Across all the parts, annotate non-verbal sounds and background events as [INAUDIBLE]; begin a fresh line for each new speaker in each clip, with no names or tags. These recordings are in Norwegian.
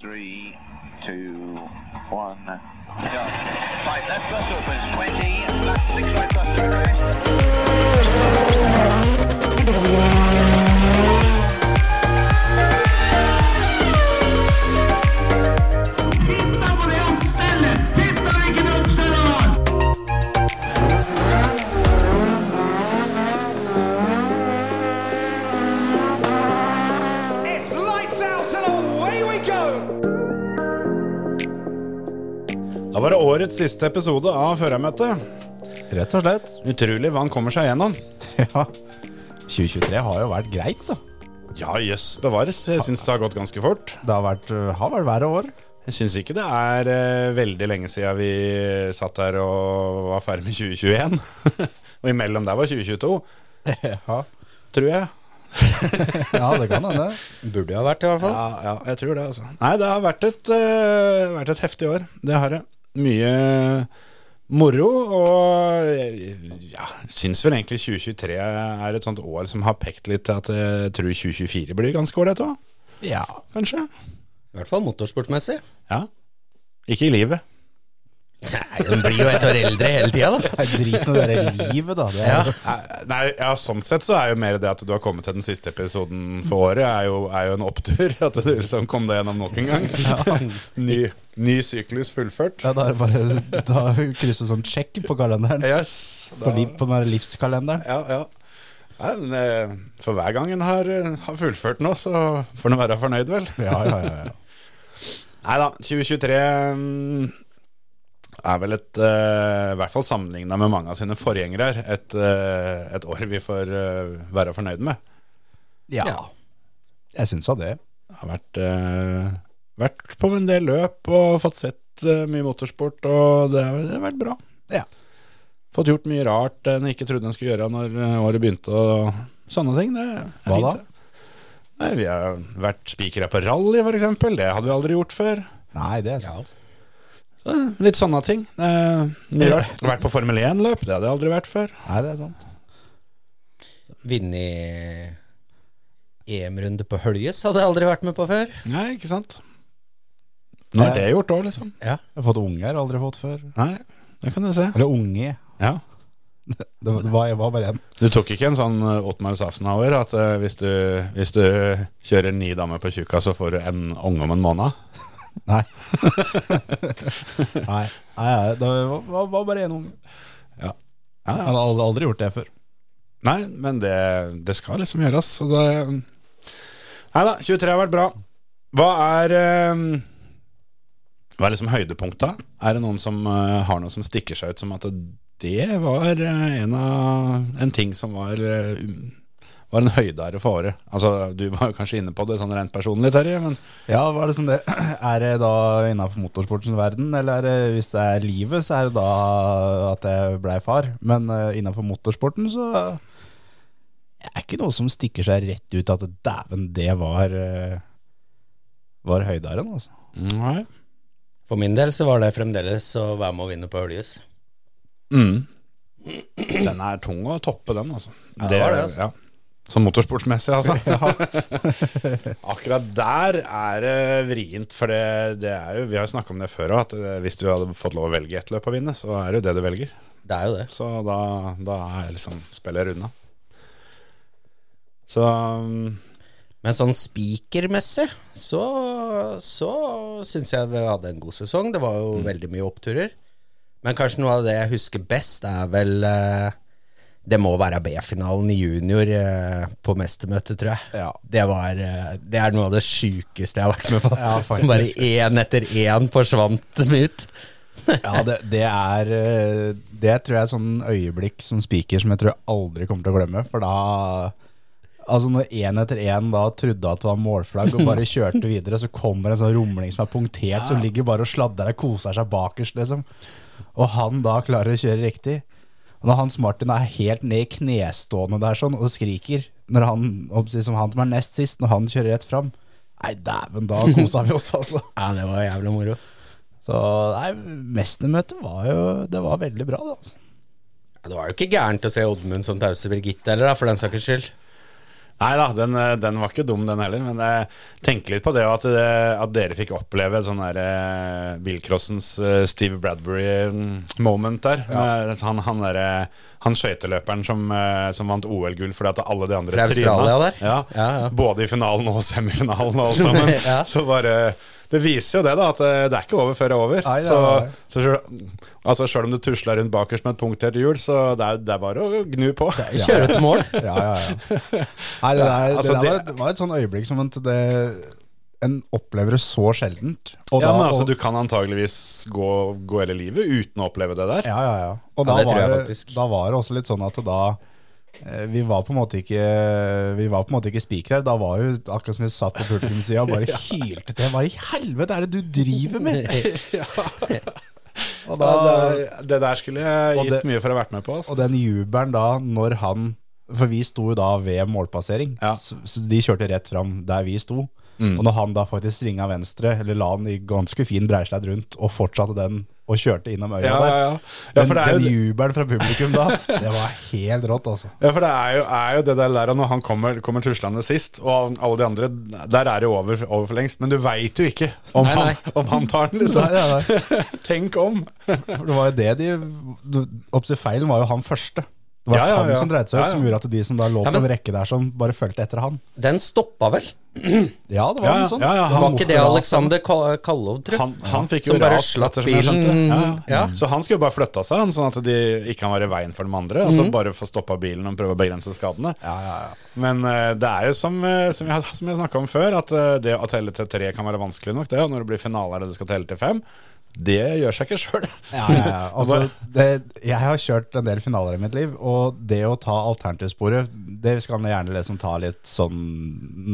three, two, one, go. Right, left bus opens 20, left six right bus to arrest.
It's lights out and away we go!
Da var det årets siste episode av Førermøtet.
Rett og slett.
Utrolig hva han kommer seg gjennom.
[LAUGHS] Ja. 2023 har jo vært greit, da.
Ja, jøss bevares. Jeg syns det har gått ganske fort.
Det har vært, eh, har vært verre år.
Jeg syns ikke det er eh, veldig lenge siden vi satt her og var ferdig med 2021. [LAUGHS] og imellom der var 2022,
[LAUGHS] Ja,
tror jeg.
ja det kan hende. Burde jo ha vært, i hvert fall.
Ja, ja, jeg tror det, altså. Nei, det har vært et, eh, vært et heftig år. Det har det. Mye moro, og jeg ja, syns vel egentlig 2023 er et sånt år som har pekt litt til at jeg tror 2024 blir ganske ålreit òg,
Ja.
kanskje.
I hvert fall motorsportmessig.
Ja. Ikke i livet.
Nei, Hun blir jo et år eldre hele tida, da.
Det er drit med det der livet, da. Det er,
Nei, ja, sånn sett så er jo mer det at du har kommet til den siste episoden for året, er jo, er jo en opptur. [LAUGHS] At du liksom kom deg gjennom nok en gang. [LAUGHS] Ny, ny syklus fullført.
ja, da er det bare da krysser sånn sjekk på kalenderen.
Yes.
På, liv, på den der livskalenderen.
Ja, ja. Nei, men, eh, for hver gang en har, eh, har fullført nå, så får en være fornøyd, vel?
Ja, ja, ja,
[LAUGHS]
ja.
Nei da, 2023 mm, er vel et, eh, i hvert fall sammenligna med mange av sine forgjengere, her, et, eh, et år vi får eh, være fornøyd med.
Ja. Jeg syns da det.
Jeg har vært, eh, vært på en del løp og fått sett eh, mye motorsport, og det har, det har vært bra.
Ja.
Fått gjort mye rart en ikke trodde en skulle gjøre når eh, året begynte, og sånne ting. Det er
Hva da?
fint, det. Nei, vi har vært spikere på rally, for eksempel. Det hadde vi aldri gjort før.
Nei, det er sant.
Ja.
Så, litt sånne ting. Eh, mye rart. vært på Formel 1-løp, det hadde jeg aldri vært før.
Nei, det er sant.
Vunnet EM-runde på Høljes hadde jeg aldri vært med på før.
Nei, ikke sant. Nå er
Nei.
det gjort òg, liksom.
Ja,
Jeg har fått unger, aldri fått før.
Nei, det kan du se.
Eller unge.
Ja.
Det var, det var, jeg var bare en.
Du tok ikke en sånn eh, Otmar Safnauer at eh, hvis, du, hvis du kjører ni damer på tjukka, så får du en unge om en måned?
Nei. Nei, nei, nei det var, var, var bare en unge.
Ja,
Jeg
ja.
hadde aldri, aldri gjort det før.
Nei, men det, det skal liksom gjøres. Så det Nei da, 23 har vært bra. Hva er eh, Hva er liksom høydepunkta? Er det noen som eh, har noe som stikker seg ut som at det var eh, en, av, en ting som var eh, um- var en høydare for året. Altså, Du var jo kanskje inne på det sånn rent personlig, Terje, men
Ja, var det [CLEARS THROAT] sånn det Er det da innafor motorsportens verden, eller er det, hvis det er livet, så er det da at jeg blei far. Men uh, innafor motorsporten, så er det ikke noe som stikker seg rett ut at dæven, det var eh, Var høydaren, altså.
Nei.
For min del så var det fremdeles å være med å vinne på Høljes.
Den er tung å toppe, den, altså.
Ja, det var det, altså.
ja. Sånn motorsportsmessig,
[LAUGHS]
altså. [LAUGHS] Akkurat der er det vrient, for det, det er jo Vi har jo snakka om det før òg, at eh, hvis du hadde fått lov å velge ett løp å vinne, så er det jo det du velger.
Det er jo det.
Så da, da er jeg liksom spiller unna. Så mm,
Men sånn spikermessig så, så syns jeg vi hadde en god sesong. Det var jo veldig mye oppturer. Men kanskje noe av det jeg husker best, er vel eh, Det må være B-finalen i junior eh, på mestermøtet, tror jeg.
Ja.
Det, var, eh, det er noe av det sjukeste jeg har vært med på.
Ja, faktisk.
Som Bare én etter én forsvant dem ut.
Ja, det, det er eh, Det tror jeg er sånn øyeblikk som spiker som jeg tror jeg aldri kommer til å glemme. For da Altså Når én etter én da trodde at det var målflagg og bare kjørte videre, så kommer en sånn rumling som er punktert, som ligger bare og sladrer og koser seg bakerst, liksom. Og han da klarer å kjøre riktig. Og når Hans Martin er helt ned i knestående der sånn og skriker, når han, om å si som han som er nest sist, når han kjører rett fram Nei, dæven, da kosa vi oss, altså.
Ja, det var jævla moro.
Så nei, mestermøtet var jo Det var veldig bra, det. altså
Det var jo ikke gærent å se Oddmund som tause Birgitte heller, da, for den saks skyld.
Nei da, den, eh, den var ikke dum, den heller. Men jeg tenker litt på det og at, det, at dere fikk oppleve sånn der eh, bilcrossens eh, Steve Bradbury-moment der. Med Han, han, der, eh, han skøyteløperen som, eh, som vant OL-gull fordi at alle de andre
Fra Australia der?
Ja,
Ja, ja.
Både i finalen og semifinalen og alt sammen.
[LAUGHS] Ja.
Så bare det viser jo det, da, at eh, det er ikke over før det er over.
Nei, det er-
så så selv, altså selv om du tusler rundt bakerst med et punktert hjul, så det er, det er bare å gnu på.
Kjøre til mål.
[LAUGHS] Ja, ja, ja. Nei, det, der,
altså,
det, der
det-
var, et, var et sånn øyeblikk som at det, en opplever det så sjeldent. Og
Ja,
da-
men altså,
og-
du kan antageligvis gå, gå hele livet uten å oppleve det der. [LAUGHS]
Ja, ja, ja. Og
Ja,
da,
det tror jeg
var det,
faktisk.
da var det også litt sånn at da eh, vi var på en måte ikke Vi var på en måte ikke spikere her. Da var jo akkurat som vi satt på publikumssida og bare hylte til. Hva i helvete er det du driver med?!
[LAUGHS]
Ja,
og, da,
det, det der skulle jeg
Og
gitt
det-
mye for å ha vært med på. Altså.
og den jubelen da, når han For vi sto jo da ved målpassering.
Ja. Mm.
Så, så de kjørte rett fram der vi sto. Og når han da faktisk svinga venstre, eller la den i ganske fin breisledd rundt, og fortsatte den og kjørte innom øya
Ja,
der
ja, ja. ja,
den,
for det er
den
jo,
jubelen fra publikum
[LAUGHS]
da, det var helt rått, altså.
ja, for det, er jo, er jo det der der, og når han kommer, kommer tuslende sist, og alle de andre, der er det jo over, over for lengst. Men du veit jo ikke om,
Nei, nei.
Han, om han tar den, liksom.
Nei, nei, nei.
[LAUGHS] Tenk om!
For det var jo det de du- Oppsi feilen var jo han første. Det var
Ja, ja, ja.
han som dreide seg ut,
Ja, ja.
som gjorde at de som da lå
Ja,
på
men-
en rekke der, som bare fulgte etter han.
Den stoppa vel?
Ja, det var
Ja,
noe
ja,
sånn.
ja, ja,
var
han-
Var ikke det Alexander Ka- Kallov, tror jeg?
Han, han fikk jo
Som bare
ras,
slapp
ettersom jeg skjønte.
bilen.
Ja, ja.
Mm.
Ja.
Så han skulle jo bare flytta seg, han, sånn at de ikke kan være i veien for de andre.
Mm.
Og så bare få stoppa bilen og prøve å begrense skadene. Men eh, det er jo som, eh, som jeg, som jeg snakka om før, at eh, det å telle til tre kan være vanskelig nok. Det, og når det blir finale og du skal telle til fem, det gjør seg ikke sjøl.
Ja, ja, ja. [LAUGHS] Altså, det, jeg har kjørt en del finaler i mitt liv, og det å ta alternativsporet, det skal man gjerne liksom ta litt sånn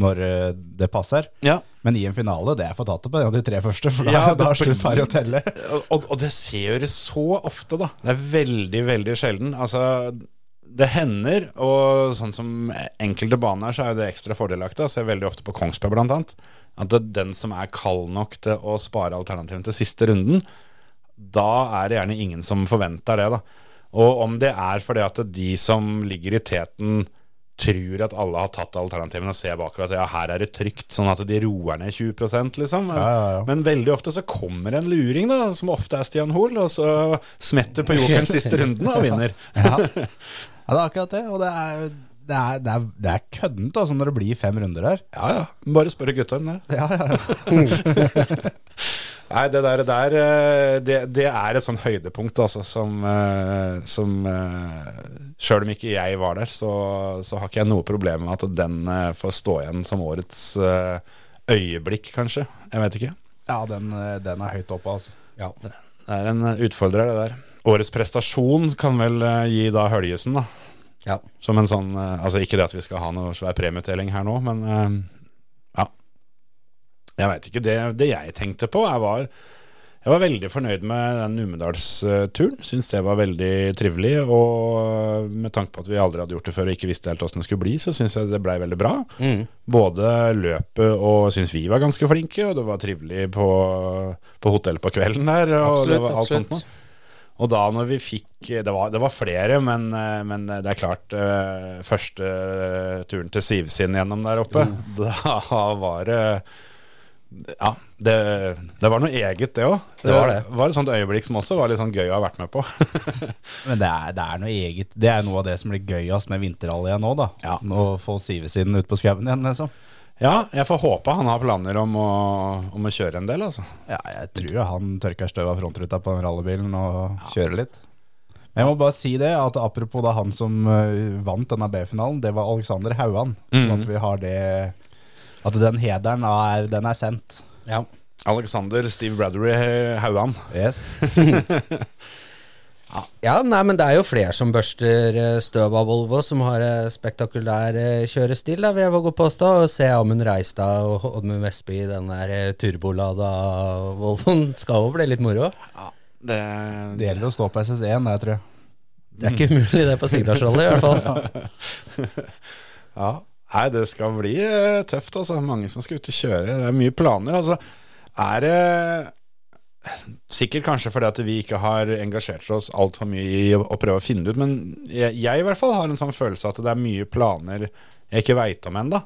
når eh, det passer.
[LAUGHS] Ja.
Men i en finale, det er for tatt på en av de tre første, for da,
Ja,
da
det-
er slutt ferdig å
[LAUGHS]
telle.
og, og det ser dere så ofte, da. Det er veldig, veldig sjelden. Altså, det hender, og sånn som enkelte baner, så er jo det ekstra fordelaktig. Jeg ser veldig ofte på Kongsberg, blant annet, at det, den som er kald nok til å spare alternativene til siste runden, da er det gjerne ingen som forventer det, da. Og om det er fordi at de som ligger i teten tror at alle har tatt alternativene og ser bakover at ja, her er det trygt, sånn at de roer ned 20 liksom.
ja, ja.
Men veldig ofte så kommer en luring, da, som ofte er Stian Hoel, og så smetter på jokeren siste runden og vinner.
Ja. ja, det er akkurat det. Og det er, det er, det er, det er køddent altså, når det blir fem runder her.
Ja, ja. Bare spørre gutta om det.
Ja, ja, ja.
[LAUGHS] Nei, det der, der eh, det, det er et sånn høydepunkt, altså, som, eh, som Sjøl om ikke jeg var der, så, så har ikke jeg noe problem med at den eh, får stå igjen som årets eh, øyeblikk, kanskje. Jeg vet ikke.
ja den, eh, den er høyt oppe, altså.
Ja.
Det er en eh, utfordrer, det der. Årets prestasjon kan vel eh, gi da Hølgesen, da.
Ja.
Som en sånn eh, Altså ikke det at vi skal ha noe svær premieutdeling her nå, men eh, ja. Jeg veit ikke. Det, det jeg tenkte på, jeg var jeg var veldig fornøyd med den Numedalsturen. Syns det var veldig trivelig. Og eh, med tanke på at vi aldri hadde gjort det før og ikke visste helt åssen det skulle bli, så syns jeg det blei veldig bra.
Mm.
Både løpet og syns vi var ganske flinke, og det var trivelig på, på hotellet på kvelden der. Og det
Absolutt,
var alt sånt
absolutt.
noe. Og da når vi fikk eh, Det var, det var flere, men, eh, men det er klart eh, Første eh, turen til Sivsinn gjennom der oppe,
Mm.
[LAUGHS] da var det Ja, det, det var noe eget, det òg.
Det var det.
var et sånt øyeblikk som også var litt sånn gøy å ha vært med på.
[LAUGHS]
[LAUGHS]
Men det er, det er noe eget. Det er noe av det som blir gøyest med vinterrally nå, da.
Ja.
Å få sivesiden ut på skauen igjen, liksom.
ja, jeg får håpe han har planer om å, om å kjøre en del, altså.
Ja, jeg tror jo han tørker støv av frontruta på den rallybilen og kjører litt. Men jeg må bare si det, at apropos da han som eh, vant denne B-finalen, det var Alexander Hauan. Sånn at vi har det At den hederen er, den er sendt.
ja.
Alexander Steve Bradbury Hauan.
Yes.
Ja, nei, men det er jo flere som børster eh, støv av Volvo, som har eh, spektakulær eh, kjørestil, da, vil jeg våge å påstå. Og se Amund Reistad og Oddmund Vestby i den der eh, turbolada Volvoen skal jo bli litt moro.
Det,
Det gjelder å stå på SS1, det, tror jeg.
Det er
Mm.
ikke umulig, det, på Sigdalsrollen i hvert
[LAUGHS]
fall.
Ja. Nei, det skal bli eh, tøft, altså. Mange som skal ut og kjøre. Det er mye planer. Altså, er det eh, Sikkert kanskje fordi at vi ikke har engasjert oss altfor mye i å å prøve å finne det ut, men jeg, jeg i hvert fall har en sånn følelse at det er mye planer jeg ikke veit om ennå.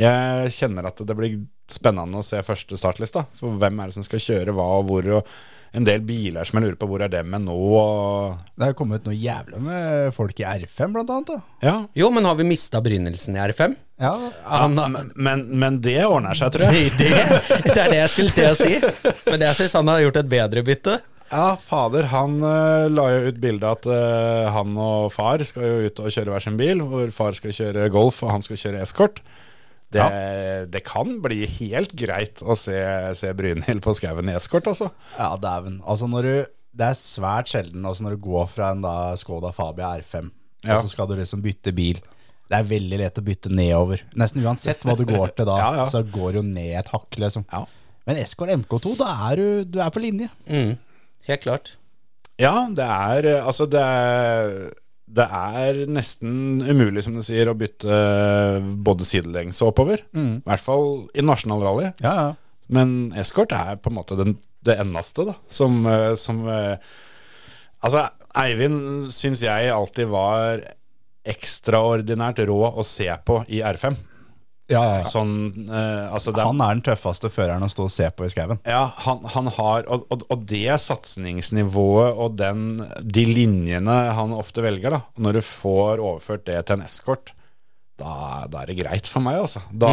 Jeg kjenner at det blir spennende å se første startlista. For hvem er det som skal kjøre hva og hvor, og en del biler som jeg lurer på hvor er dem er nå, og
Det har kommet noe jævla med folk i R5, blant annet. Da.
Ja.
Jo, men har vi mista brynnelsen i R5?
Ja,
Han,
Men, men, men det ordner seg, tror jeg.
det, det er det jeg skulle til å si. Men jeg syns han har gjort et bedre bytte.
Ja, fader, han eh, la jo ut bilde at eh, han og far skal jo ut og kjøre hver sin bil, hvor far skal kjøre golf og han skal kjøre eskort. Det, det kan bli helt greit å se, se Brynhild på skauen i eskort, altså.
ja dæven. Altså, når du Det er svært sjelden altså, når du går fra en da Skoda Fabia R5,
Ja.
og så skal du liksom bytte bil. Det er veldig lett å bytte nedover. Nesten uansett hva du går til da,
[LAUGHS] Ja, ja.
så går du ned et hakk, liksom.
Ja.
Men Escort MK2, da er du, du er på linje.
Helt klart.
Ja, det er eh, Altså, det er, det er nesten umulig, som du sier, å bytte eh, både sidelengs og oppover. I hvert fall i nasjonal rally.
Ja, ja.
Men eskort er på en måte den, det eneste da Som, eh, som eh, Altså Eivind synes jeg alltid var Ekstraordinært rå å se på i R5
ja, ja.
Sånn eh, altså det,
Han er den tøffeste føreren å stå og se på i skauen.
ja, han, han har og, og, og det satsningsnivået Og den, de linjene han ofte velger da Når du får overført det til en eskort da, da er det greit for meg altså. Da,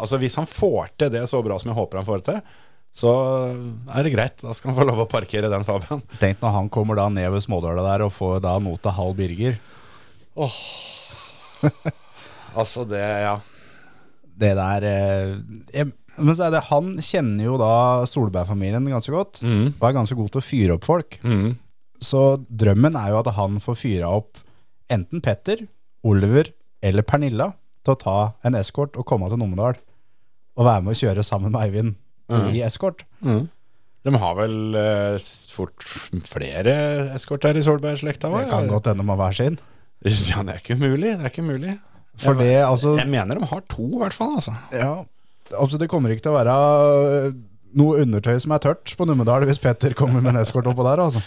altså Hvis han får til det så bra som jeg håper han får det til Så er det greit Da skal han få lov å parkere den Fabian
Tenk når han kommer da ned ved smådøla der og får da nota halv Birger.
Altså det, ja
Det der eh, jeg, Men så er det han kjenner jo da Solberg-familien ganske godt, og er ganske god til å fyre opp folk. Så drømmen er jo at han får fyra opp enten Petter, Oliver eller Pernilla til å ta en eskort og komme til Numedal og være med å kjøre sammen med Eivind i eskort.
De har vel eh, s- fort flere eskort her i Solberg-slekta
Det
hva?
kan godt hende med hver sin.
Ja, det er ikke umulig, det er ikke umulig
For det, altså
Jeg mener de har to i hvert fall altså.
Ja, altså det kommer ikke til å være øh, noe undertøy som er tørt på Numedal hvis Petter kommer med en eskort oppå der, altså.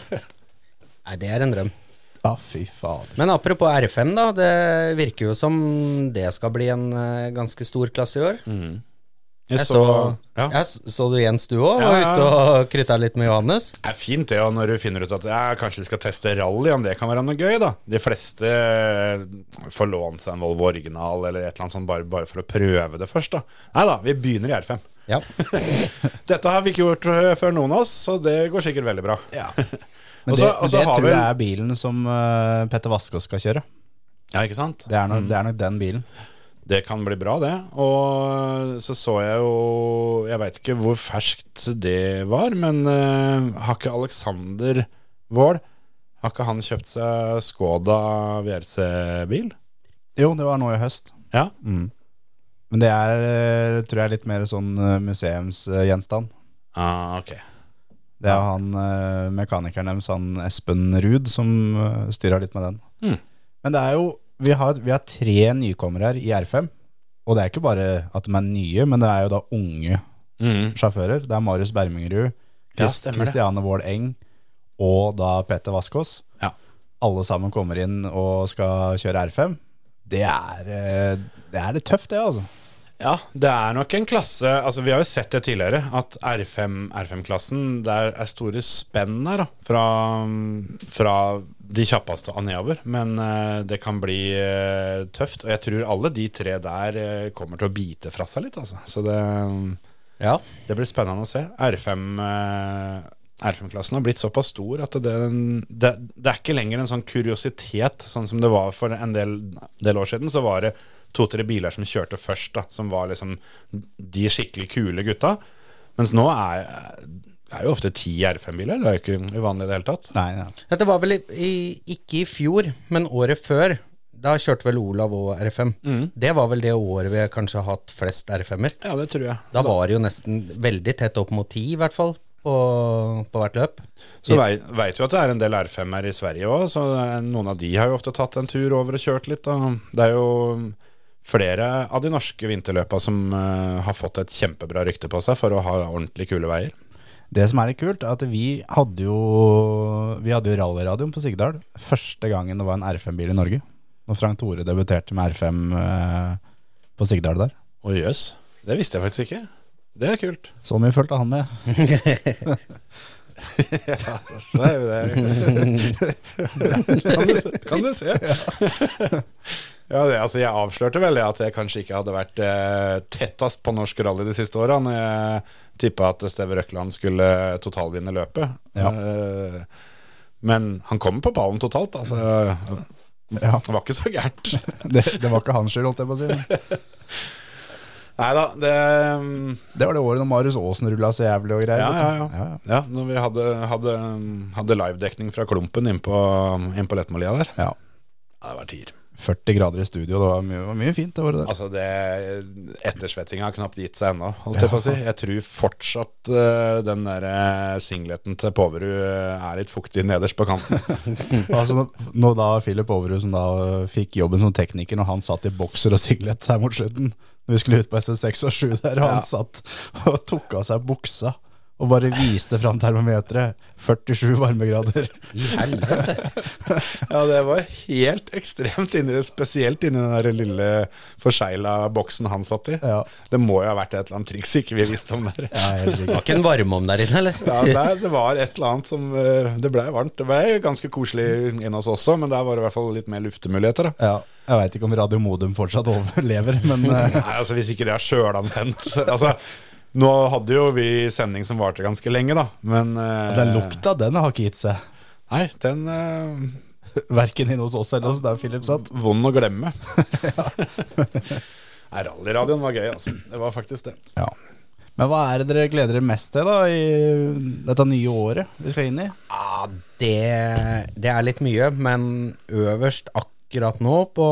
Nei, det er en drøm.
Ja, fy fader.
Men apropos R5, da. Det virker jo som det skal bli en eh, ganske stor klasse i år.
Mm. Jeg
Jeg så,
ja.
jeg s- så du Jens, du òg,
Ja,
var
ja,
ute og krytta litt med
[LAUGHS]
Johannes.
Det er fint det, og når du finner ut at ja, kanskje vi skal teste rally, om det kan være noe gøy, da. De fleste eh, får lånt seg en Volvo original eller et eller annet sånt bare, bare for å prøve det først, da. Nei da, vi begynner i R5.
Ja.
Dette har vi ikke gjort eh, før noen av oss, så det går sikkert veldig bra. [LAUGHS]
Men
Og
det,
så- og
men
så
det
har
tror
vel-
jeg er bilen som øh, Petter Vaskås skal kjøre.
Ja, ikke sant?
Det er, nok, det er nok den bilen.
Det kan bli bra, det. Og eh, så så jeg jo Jeg veit ikke hvor ferskt det var, men eh, har ikke Alexander Vål Har ikke han kjøpt seg Skoda VRC-bil?
Jo, det var nå i høst.
Ja.
Men det er, øh, tror jeg, litt mer sånn museumsgjenstand.
Ah, ok.
Det er han eh, mekanikeren deres, han Espen Ruud, som eh, styrer litt med den.
Mm.
Men det er jo vi har, vi har tre nykommere her i R5. Og det er ikke bare at de er nye, men det er jo da unge sjåfører. Det er Marius
Ja,
Bermingerud, Chris,
stemmer det.
Christiane Wold Eng og da Peter Vaskås.
Ja.
Alle sammen kommer inn og skal kjøre R5. Det er, eh, det er litt tøft, det, altså.
Ja, det er nok en klasse Altså Vi har jo sett det tidligere, at R5, R5-klassen Det er, er store spenn der, da. Fra, fra de kjappeste og nedover. Men eh, det kan bli eh, tøft. Og jeg tror alle de tre der eh, kommer til å bite fra seg litt, altså. Så det,
ja.
det blir spennende å se. R5 eh, R5-klassen har blitt såpass stor at det, det, det er ikke lenger en sånn kuriositet, sånn som det var for en del, del år siden. Så var det to-tre biler som kjørte først, da, som var liksom de skikkelig kule gutta. Mens nå er, er jo ofte ti R5-biler. Det er jo ikke uvanlig i det hele tatt.
Nei, nei.
Dette var vel i, i, ikke i fjor, men året før. Da kjørte vel Olav og R5.
Mm.
Det var vel det året vi kanskje har hatt flest R5-er.
Ja, det tror jeg.
Da var det jo nesten veldig tett opp mot ti, i hvert fall, på, på hvert løp.
Så vei- veit vi at det er en del R5-er i Sverige òg, så eh, noen av de har jo ofte tatt en tur over og kjørt litt. Og det er jo flere av de norske vinterløpa som eh, har fått et kjempebra rykte på seg for å ha ordentlig kule veier.
Det som er litt kult, er at vi hadde jo Vi hadde jo rallyradioen på Sigdal første gangen det var en R5-bil i Norge. Når Frank Tore debuterte med R5 eh, på Sigdal der.
Å jøss. Det visste jeg faktisk ikke. Det er kult.
Så mye fulgte han med.
Så er jo det kan, du, se- kan du se. Ja, det, altså Jeg avslørte vel det at jeg kanskje ikke hadde vært eh, tettest på norsk rally de siste åra, når jeg tippa at Steve Røkland skulle eh, totalvinne løpet.
Ja.
Eh, men han kom på ballen totalt, altså.
Ja,
Det var ikke så gærent.
det, det var ikke hans skyld, holdt jeg på å si.
Nei da, det mm,
Det var det året når Marius Aasen rulla så jævlig og greier.
Ja, ja,
vet
ja.
du.
ja, når vi hadde, hadde, hadde livedekning fra Klumpen inn på, inn på Lettmålia der.
Ja.
Ja, det var tier.
40 grader i studio, det var mye, det var mye fint det året der.
Altså, det Ettersvettinga har knapt gitt seg ennå, holdt jeg på å si. Jeg tror fortsatt eh, den der eh, singleten til Poverud eh, er litt fuktig nederst på kanten.
Altså, når- når da Philip Overud, som da eh, fikk jobben som tekniker, når han satt i bokser og singlet her mot slutten Når vi skulle ut på SS6 og 7 der, og han satt og tok av seg buksa og bare viste fram termometeret. 47 varmegrader.
I helvete.
ja, det var helt ekstremt inni det, spesielt inni den der lille forsegla boksen han satt i.
Ja.
Det må jo ha vært et eller annet triks ikke vi visste om der.
Ja, helt sikkert.
Var ikke en varmeovn der inne, eller?
Ja, nei, det var et eller annet som eh, Det blei varmt. Det blei ganske koselig inne hos oss også, men der var det i hvert fall litt mer luftemuligheter. da
Ja, jeg veit ikke om Radio Modum fortsatt overlever, [LAUGHS] men eh,
Nei, altså Hvis ikke det er sjølantent altså, Nå hadde jo vi sending som varte ganske lenge, da, men eh,
den lukta, den har ikke gitt seg.
Nei, den eh,
Verken inne hos oss eller hos der Philip satt.
Vond å glemme. Nei, Rallyradioen var gøy, altså. Det var faktisk det.
Ja. Men hva er det dere gleder dere mest til da i dette nye året vi skal inn i?
Ja, det, det er litt mye, men øverst akkurat nå på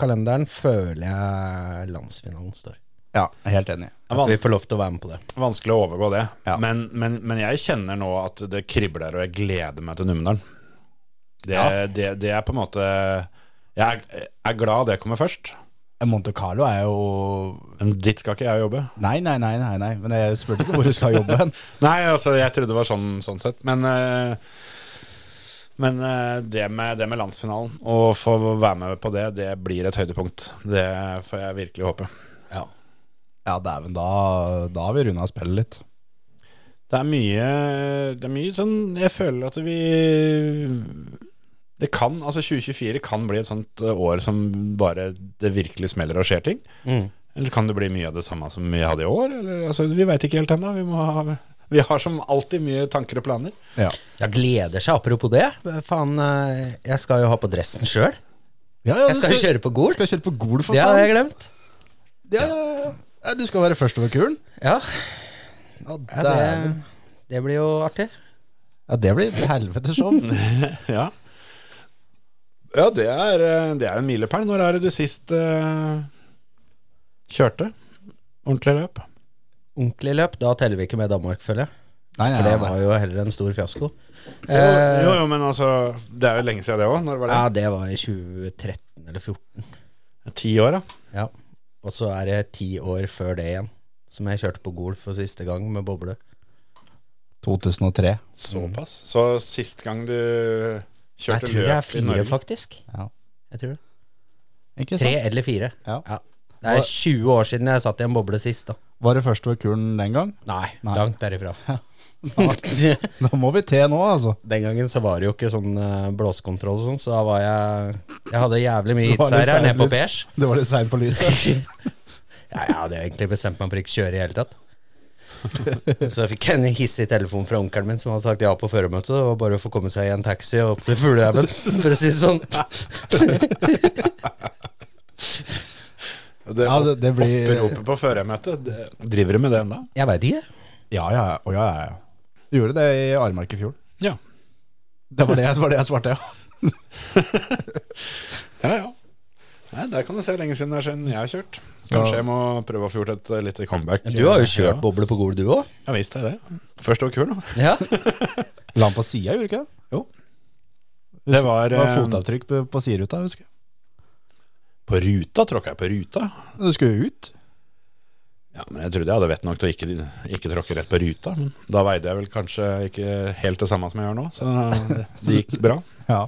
kalenderen føler jeg landsfinalen står.
Ja, helt enig.
At vi får lov til å være med på det.
Vanskelig å overgå det.
Ja.
Men, men, men jeg kjenner nå at det kribler, og jeg gleder meg til Numedalen. Det, det, det er på en måte Jeg er, er glad det kommer først.
Monte Carlo er jo
Men dit skal ikke jeg jobbe.
Nei, nei, nei, nei, nei. men jeg spurte ikke hvor du skal jobbe hen.
Nei, altså, jeg trodde det var sånn, sånn sett. Men, eh, men eh, det, med, det med landsfinalen, å få være med på det, det blir et høydepunkt. Det får jeg virkelig håpe.
Ja.
Ja, dæven, da, da har vi runda spillet litt.
Det er mye Det er mye sånn Jeg føler at vi Det kan Altså 2024 kan bli et sånt eh, år som bare det virkelig smeller og skjer ting.
Mm.
Eller kan det bli mye av det samme som vi hadde i år? Eller, altså, vi veit ikke helt ennå. Vi, må ha- vi har som alltid mye tanker og planer.
Ja,
Jeg gleder seg, apropos det. Faen, eh, jeg skal jo ha på dressen sjøl.
[LAUGHS] ja,
Jeg skal jo kjøre på Gol.
Skal kjøre på Gol, for
Det hadde jeg
faen.
glemt.
Ja, ja, ja. Ja, du skal være først over kulen.
Ja,
Ja,
ja det,
dæven.
det blir jo artig.
ja, det blir et helvetes
[LAUGHS]
show.
[LAUGHS] Ja, ja det, er, eh, det er en milepæl. Når er det du sist eh, kjørte ordentlig løp?
Ordentlig løp, da teller vi ikke med Danmark, føler jeg.
Nei, nei,
For det
nei,
var
nei.
jo heller en stor fiasko.
Jo,
Eh,
jo, jo, men altså Det er jo lenge siden det òg. Når var det?
ja, det var i 2013 eller 2014.
Ti år, da.
Ja, og så er det ti år før det igjen, som jeg kjørte på Gol for siste gang med boble.
2003.
Såpass. Mm. Så sist gang du
Jeg
kjørte
tror det er
løp i
fire,
Norge
faktisk.
Ja.
Jeg tror det.
Ikke
Tre
sant?
eller fire.
Ja.
Det er 20 år siden jeg satt i en boble sist, da.
Var det først over kulen den gang?
Nei,
Nei.
langt derifra.
Da må vi te nå, altså.
[LAUGHS] Den gangen så var det jo ikke sånn eh, blåsekontroll og sånn, så da var jeg Jeg hadde jævlig [LAUGHS] mye
Det var litt
hitseier her nede på
særlig.
Pers.
Det var litt seint på lyset.
Ja, jeg hadde egentlig bestemt meg for ikke å kjøre i hele [LAUGHS] tatt. Så jeg fikk en hissig telefon fra onkelen min som hadde sagt ja på førermøtet. Det var bare å få komme seg i en taxi og opp til fuglehaugen, [LAUGHS] for å si det sånn.
Det,
Ja, det, det blir
Oppropet på førermøtet, det- driver du med det ennå?
Jeg veit ikke.
Ja, ja, ja. Å, ja, ja, ja. Du gjorde det i Aremark i fjor.
Ja.
Det var det jeg, det var det jeg svarte, ja.
ja, ja. Nei, Der kan du se lenge siden det er siden jeg har kjørt. Kanskje jeg må prøve å få gjort et eh, lite comeback.
Du har jo kjørt
Ja.
boble på Gol, du òg.
Ja visst er det. Først over kulen, da.
Ja.
La han på sida, gjorde ikke det?
Jo. Det var,
Det var
eh,
fotavtrykk på, på sideruta, husker jeg.
På ruta tråkka jeg på ruta.
Du skulle jo ut.
Ja, men Jeg trodde jeg hadde vett nok til å ikke, ikke tråkke rett på ruta. Men da veide jeg vel kanskje ikke helt det samme som jeg gjør nå, så det gikk bra.
Ja.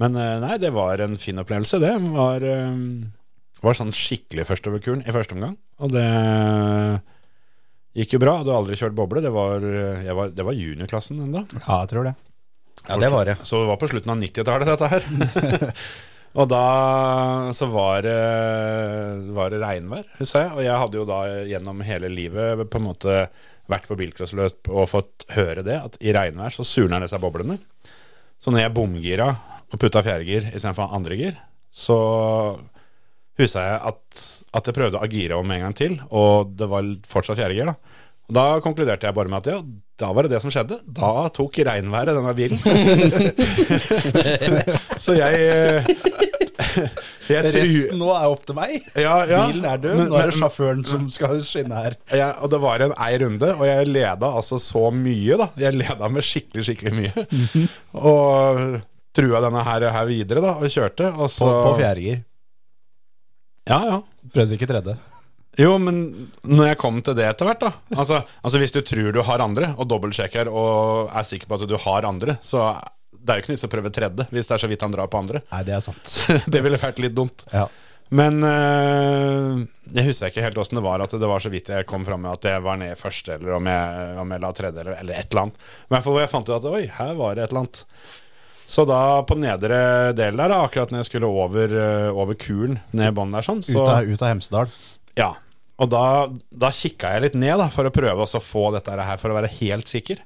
Men eh, nei, det var en fin opplevelse. Det var, eh, var sånn skikkelig først over kulen i første omgang. Og det gikk jo bra. Du har aldri kjørt boble. Det var, eh, jeg var, det var juniorklassen ennå.
Ja, jeg tror det.
Ja, det var det.
Så det var på slutten av 90-tallet, dette
[LAUGHS]
her. og da så var det, var det regnvær, husker jeg. Og jeg hadde jo da gjennom hele livet på en måte vært på bilcrossløp og fått høre det, at i regnvær så surner disse boblene. Så når jeg bomgira og putta fjerdegir istedenfor andregir, så huska jeg at, at jeg prøvde å agire om en gang til, og det var fortsatt fjerdegir, da. Og da konkluderte jeg bare med at ja, da var det det som skjedde. Da tok regnværet denne bilen. [LAUGHS] så jeg, eh, [LAUGHS] jeg tru-
Resten nå er opp til meg.
Ja, ja.
Bilen er død.
Men-
Nå er det
men-
sjåføren som skal skinne her.
jeg, og det var en ei runde, og jeg leda altså så mye, da. Jeg leda med skikkelig, skikkelig mye.
Mhm.
Og trua denne her, her videre, da, og kjørte. Og så
På, på fjerdegir.
Ja, ja.
Prøvde ikke tredje.
Jo, men når jeg kom til det etter hvert, da altså, altså hvis du tror du har andre, og dobbeltsjekker og er sikker på at du har andre, så det er jo ikke noe vits å prøve tredje hvis det er så vidt han drar på
[LAUGHS]
andre.
Nei, det er sant.
det ville vært litt dumt.
Ja.
Men eh, jeg husker ikke helt åssen det var at det var så vidt jeg kom fram med at jeg var nede først, eller om jeg, om jeg la tredje, eller, eller et eller annet. I hvert fall hvor jeg fant ut at oi, her var det et eller annet. Så da på nedre del der, da, akkurat når jeg skulle over, eh, over kulen ned i bånn der sånn, så
Ut av, ut av Hemsedal.
ja. Og da, da kikka jeg litt ned da, for å prøve også å få dette her for å være helt sikker.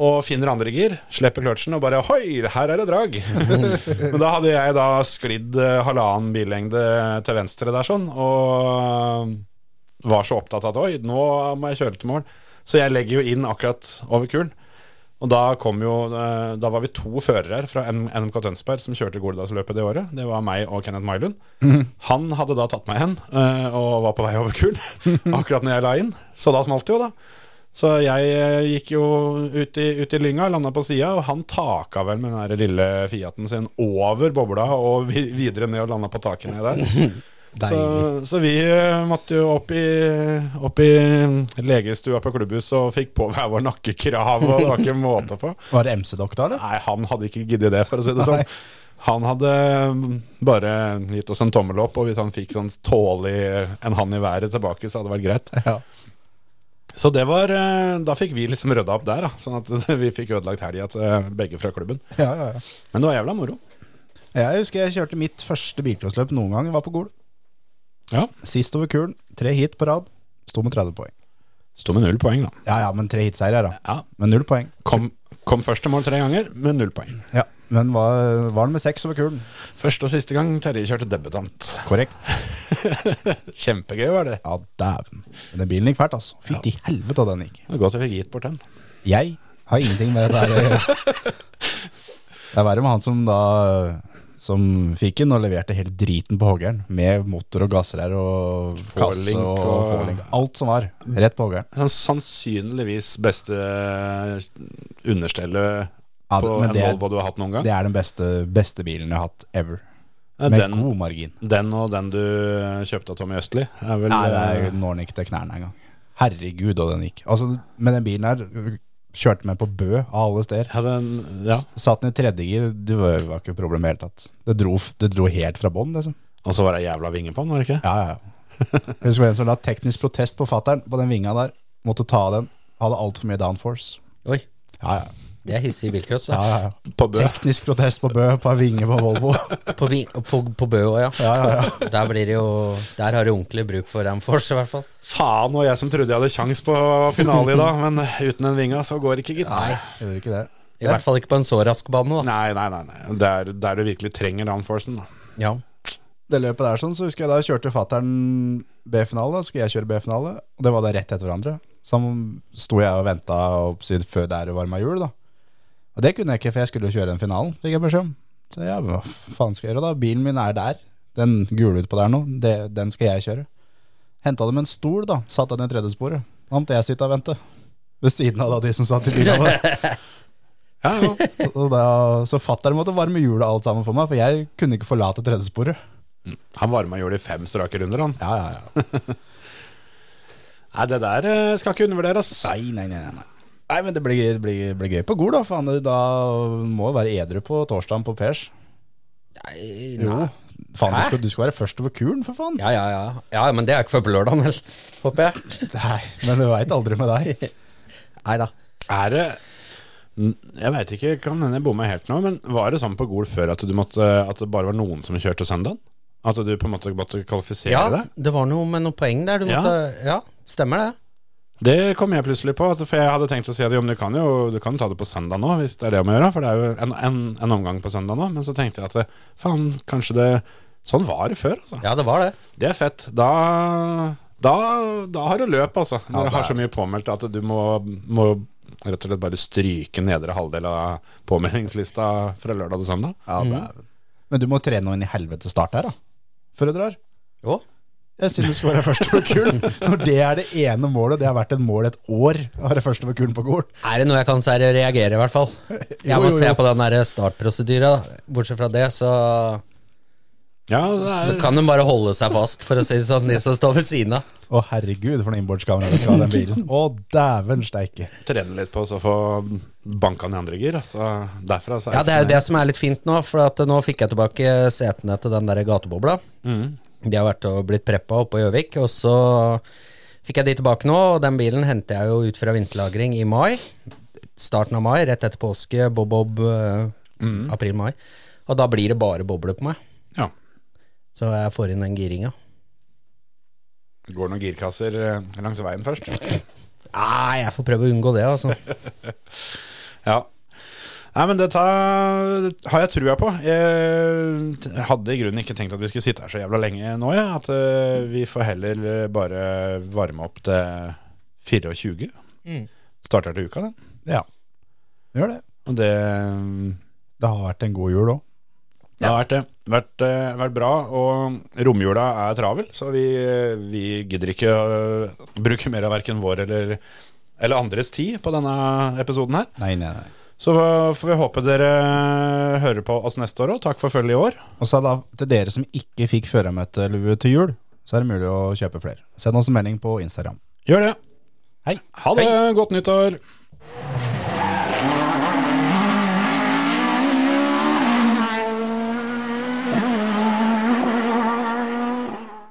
Og finner andre gir, slipper kløtsjen og bare Hoi, her er det drag! [LAUGHS] Men da hadde jeg da sklidd eh, halvannen billengde til venstre der sånn, og var så opptatt av at oi, nå må jeg kjøre til mål. Så jeg legger jo inn akkurat over kulen. Og da kom jo eh, Da var vi to førere her fra N- NMK Tønsberg som kjørte Goldalsløpet det året. Det var meg og Kenneth Mylund. Han hadde da tatt meg hen eh, og var på vei over kulen akkurat når jeg la inn. Så da smalt det jo, da. Så jeg eh, gikk jo ut i, ut i lynga, landa på sida, og han taka vel med den der lille Fiaten sin over bobla og vi, videre ned og landa på taket ned der.
Deilig.
Så, så vi eh, måtte jo opp i, opp i legestua på klubbhuset og fikk på hver vår nakkekrav, og det var ikke måte på.
Var det MC-dokk da, eller?
Nei, han hadde ikke giddet det, for å si det sånn. Han hadde mm, bare gitt oss en tommel opp, og hvis han fikk sånn tålig en hand i været tilbake, så hadde det vært greit.
Ja.
Så det var eh, Da fikk vi liksom rydda opp der, da. Sånn at [LAUGHS] vi fikk ødelagt helga til eh, begge fra klubben.
Ja, ja, ja.
Men det var jævla moro.
Jeg husker jeg kjørte mitt første bilcrossløp noen gang. Jeg var på Gol.
Ja.
Sist over kulen. Tre hit på rad. Sto med 30 poeng.
Sto med null poeng, da.
Ja ja, men tre hitseier, da.
Ja.
Men null poeng.
Kom, kom første mål tre ganger med null poeng.
Ja, Men var, var den med seks over kulen?
Første og siste gang Terje kjørte debutant.
Korrekt.
Kjempegøy var det.
Ja, dæven. Men den bilen gikk fælt, altså. Fytti helvete, den gikk.
Det var Godt vi fikk gitt bort den.
Jeg har ingenting med det der å gjøre.
[LAUGHS]
Det er verre med han som da Som fikk den og leverte hele driten på hoggeren. Med motor og gassrør og kasse
Forlink
og, og
og-
forlink. Alt som var. Rett på hoggeren.
Sånn Sannsynligvis beste eh, understellet
Ja,
på
men
en
det-
Volvo du har hatt noen gang.
Det er den beste, beste bilen jeg har hatt ever.
Ja,
Med
den,
god margin.
den og den du kjøpte av Tommy Østli er vel eh,
Nei, det er- når den ikke til knærne engang. Herregud, og den gikk. Altså, med den bilen her kjørte meg på Bø av alle steder.
ja, den, ja.
S- Satt den i tredjegir, det var, var ikke problem i det hele tatt. Det dro, det dro helt fra bånn, liksom.
Og så var det jævla vinge på den, var det ikke?
Ja, ja, ja.
[LAUGHS]
Jeg husker en som la teknisk protest på fatteren på den vinga der. Måtte ta den. Hadde altfor mye downforce.
Oi,
Ja, ja.
det er hissig bilcross.
ja,
da.
ja, ja.
På Bø.
Teknisk protest på Bø, på ei vinge på Volvo.
[LAUGHS]
På, vi- på, på Bø òg, ja. Der, blir det jo, der har du ordentlig bruk for Amfors, i hvert fall.
Faen, og jeg som trodde jeg hadde kjangs på finale i [LAUGHS] dag, men uten den vinga så går det ikke, gitt. Nei,
Gjorde ikke det.
I hvert fall ikke på en så rask bane. Da.
nei, nei. nei. Det er der du virkelig trenger downforcen. da.
Ja.
Det løpet der sånn, så husker jeg da kjørte fatteren B-finale, så skulle jeg kjøre B-finale, og det var da rett etter hverandre. Så sto jeg og venta før det er varma hjul, da. Og det kunne jeg ikke, for jeg skulle jo kjøre den finalen, fikk jeg beskjed om. Så ja, hva faen skal jeg gjøre da? Bilen min er der. Den gule utpå der nå, det, den skal jeg kjøre. Henta dem en stol, da. Satt den i tredjesporet. Da måtte jeg sitte og vente. Ved siden av da de som satt i bilen. vår.
Ja, ja.
Og da, så fatter'n måtte varme hjulet alt sammen for meg, for jeg kunne ikke forlate tredjesporet.
Han varma hjulet i fem strake runder, han.
Ja, ja, ja.
Nei, det der eh, skal ikke undervurderes.
Nei, nei, nei, nei, nei. Nei, men det blir, det blir, det blir gøy på Gol, da. Faen, da må jeg være edru på torsdagen på Pers.
Nei,
Jo.
nei.
Faen, du
Hæ?
skal, du skal være først over kuren, for faen.
Ja, ja, ja. ja, men det er ikke før på lørdag, vel? Håper jeg.
Nei, men du veit aldri med deg.
Nei da.
Er det N- Jeg veit ikke, kan hende jeg bommer helt nå, men var det sånn på Gol før at, du måtte, at det bare var noen som kjørte søndagen? At du på en måte måtte kvalifisere
Ja,
deg?
det var noe med noen poeng der. Du
Ja.
måtte, ja. stemmer det.
Det kom jeg plutselig på, altså, for jeg hadde tenkt å si at jo, men du kan jo du kan ta det på søndag nå, hvis det er det å gjøre, for det er jo en, en, en omgang på søndag nå. Men så tenkte jeg at det- faen, kanskje det Sånn var det før, altså.
Ja, det var det.
Det er fett. Da, da, da har du løp, altså. Når
det
du har
er
så mye påmeldt at du må, må rett og slett bare stryke nedre halvdel av påmeldingslista fra lørdag til søndag.
Ja, det er- Men du må trene noe inn i helvete start her, da. Før du drar.
Jo.
Jeg sier du skal være først over kulen. Når det er det ene målet, det har vært et mål et år, å være først over kulen på Gol.
Er det noe jeg kan så er det å reagere, i hvert [LAUGHS] fall? Jeg må
jo,
se
jo.
på den der startprosedyra. da. Bortsett fra det, så,
Ja, det
så
er,
kan de bare holde seg fast, for å si det sånn, de som står ved siden av.
Å, herregud, for noen innbordskamera vi skal ha i den bilen. Å, dæven steike.
trene litt på å så få banka den i andre gir. Altså, derfra så
Ja, det er jo
så
det som er litt fint nå, for at nå fikk jeg tilbake setene til den der gatebobla. De har vært og blitt preppa oppe på Gjøvik, og så fikk jeg de tilbake nå, og den bilen henter jeg jo ut fra vinterlagring i mai. Starten av mai, rett etter påske, bob-bob, april-mai. Og da blir det bare bobler på meg,
Ja.
så jeg får inn den giringa.
Går noen girkasser eh, langs veien først.
Nei, jeg får prøve å unngå det, altså.
Ja. Nei, men dette har jeg trua på. Jeg hadde i grunnen ikke tenkt at vi skulle sitte her så jævla lenge nå, jeg. At eh, vi får heller eh, bare varme opp til 24.
Mm.
Starter til uka, den.
Ja. Gjør det.
Og det, mm,
Det har vært en god jul òg.
det har vært det. Vært, eh, vært bra. Og romjula er travel, så vi, vi gidder ikke å bruke mer av verken vår eller, eller andres tid på denne episoden her.
Nei, nei, nei.
Så får vi håpe dere hører på oss neste år òg. Takk for følget i år.
Og så da, til dere som ikke fikk førermøtelue til jul, så er det mulig å kjøpe flere. Send oss en melding på Instagram.
Gjør det.
Hei.
Ha det. Godt nyttår.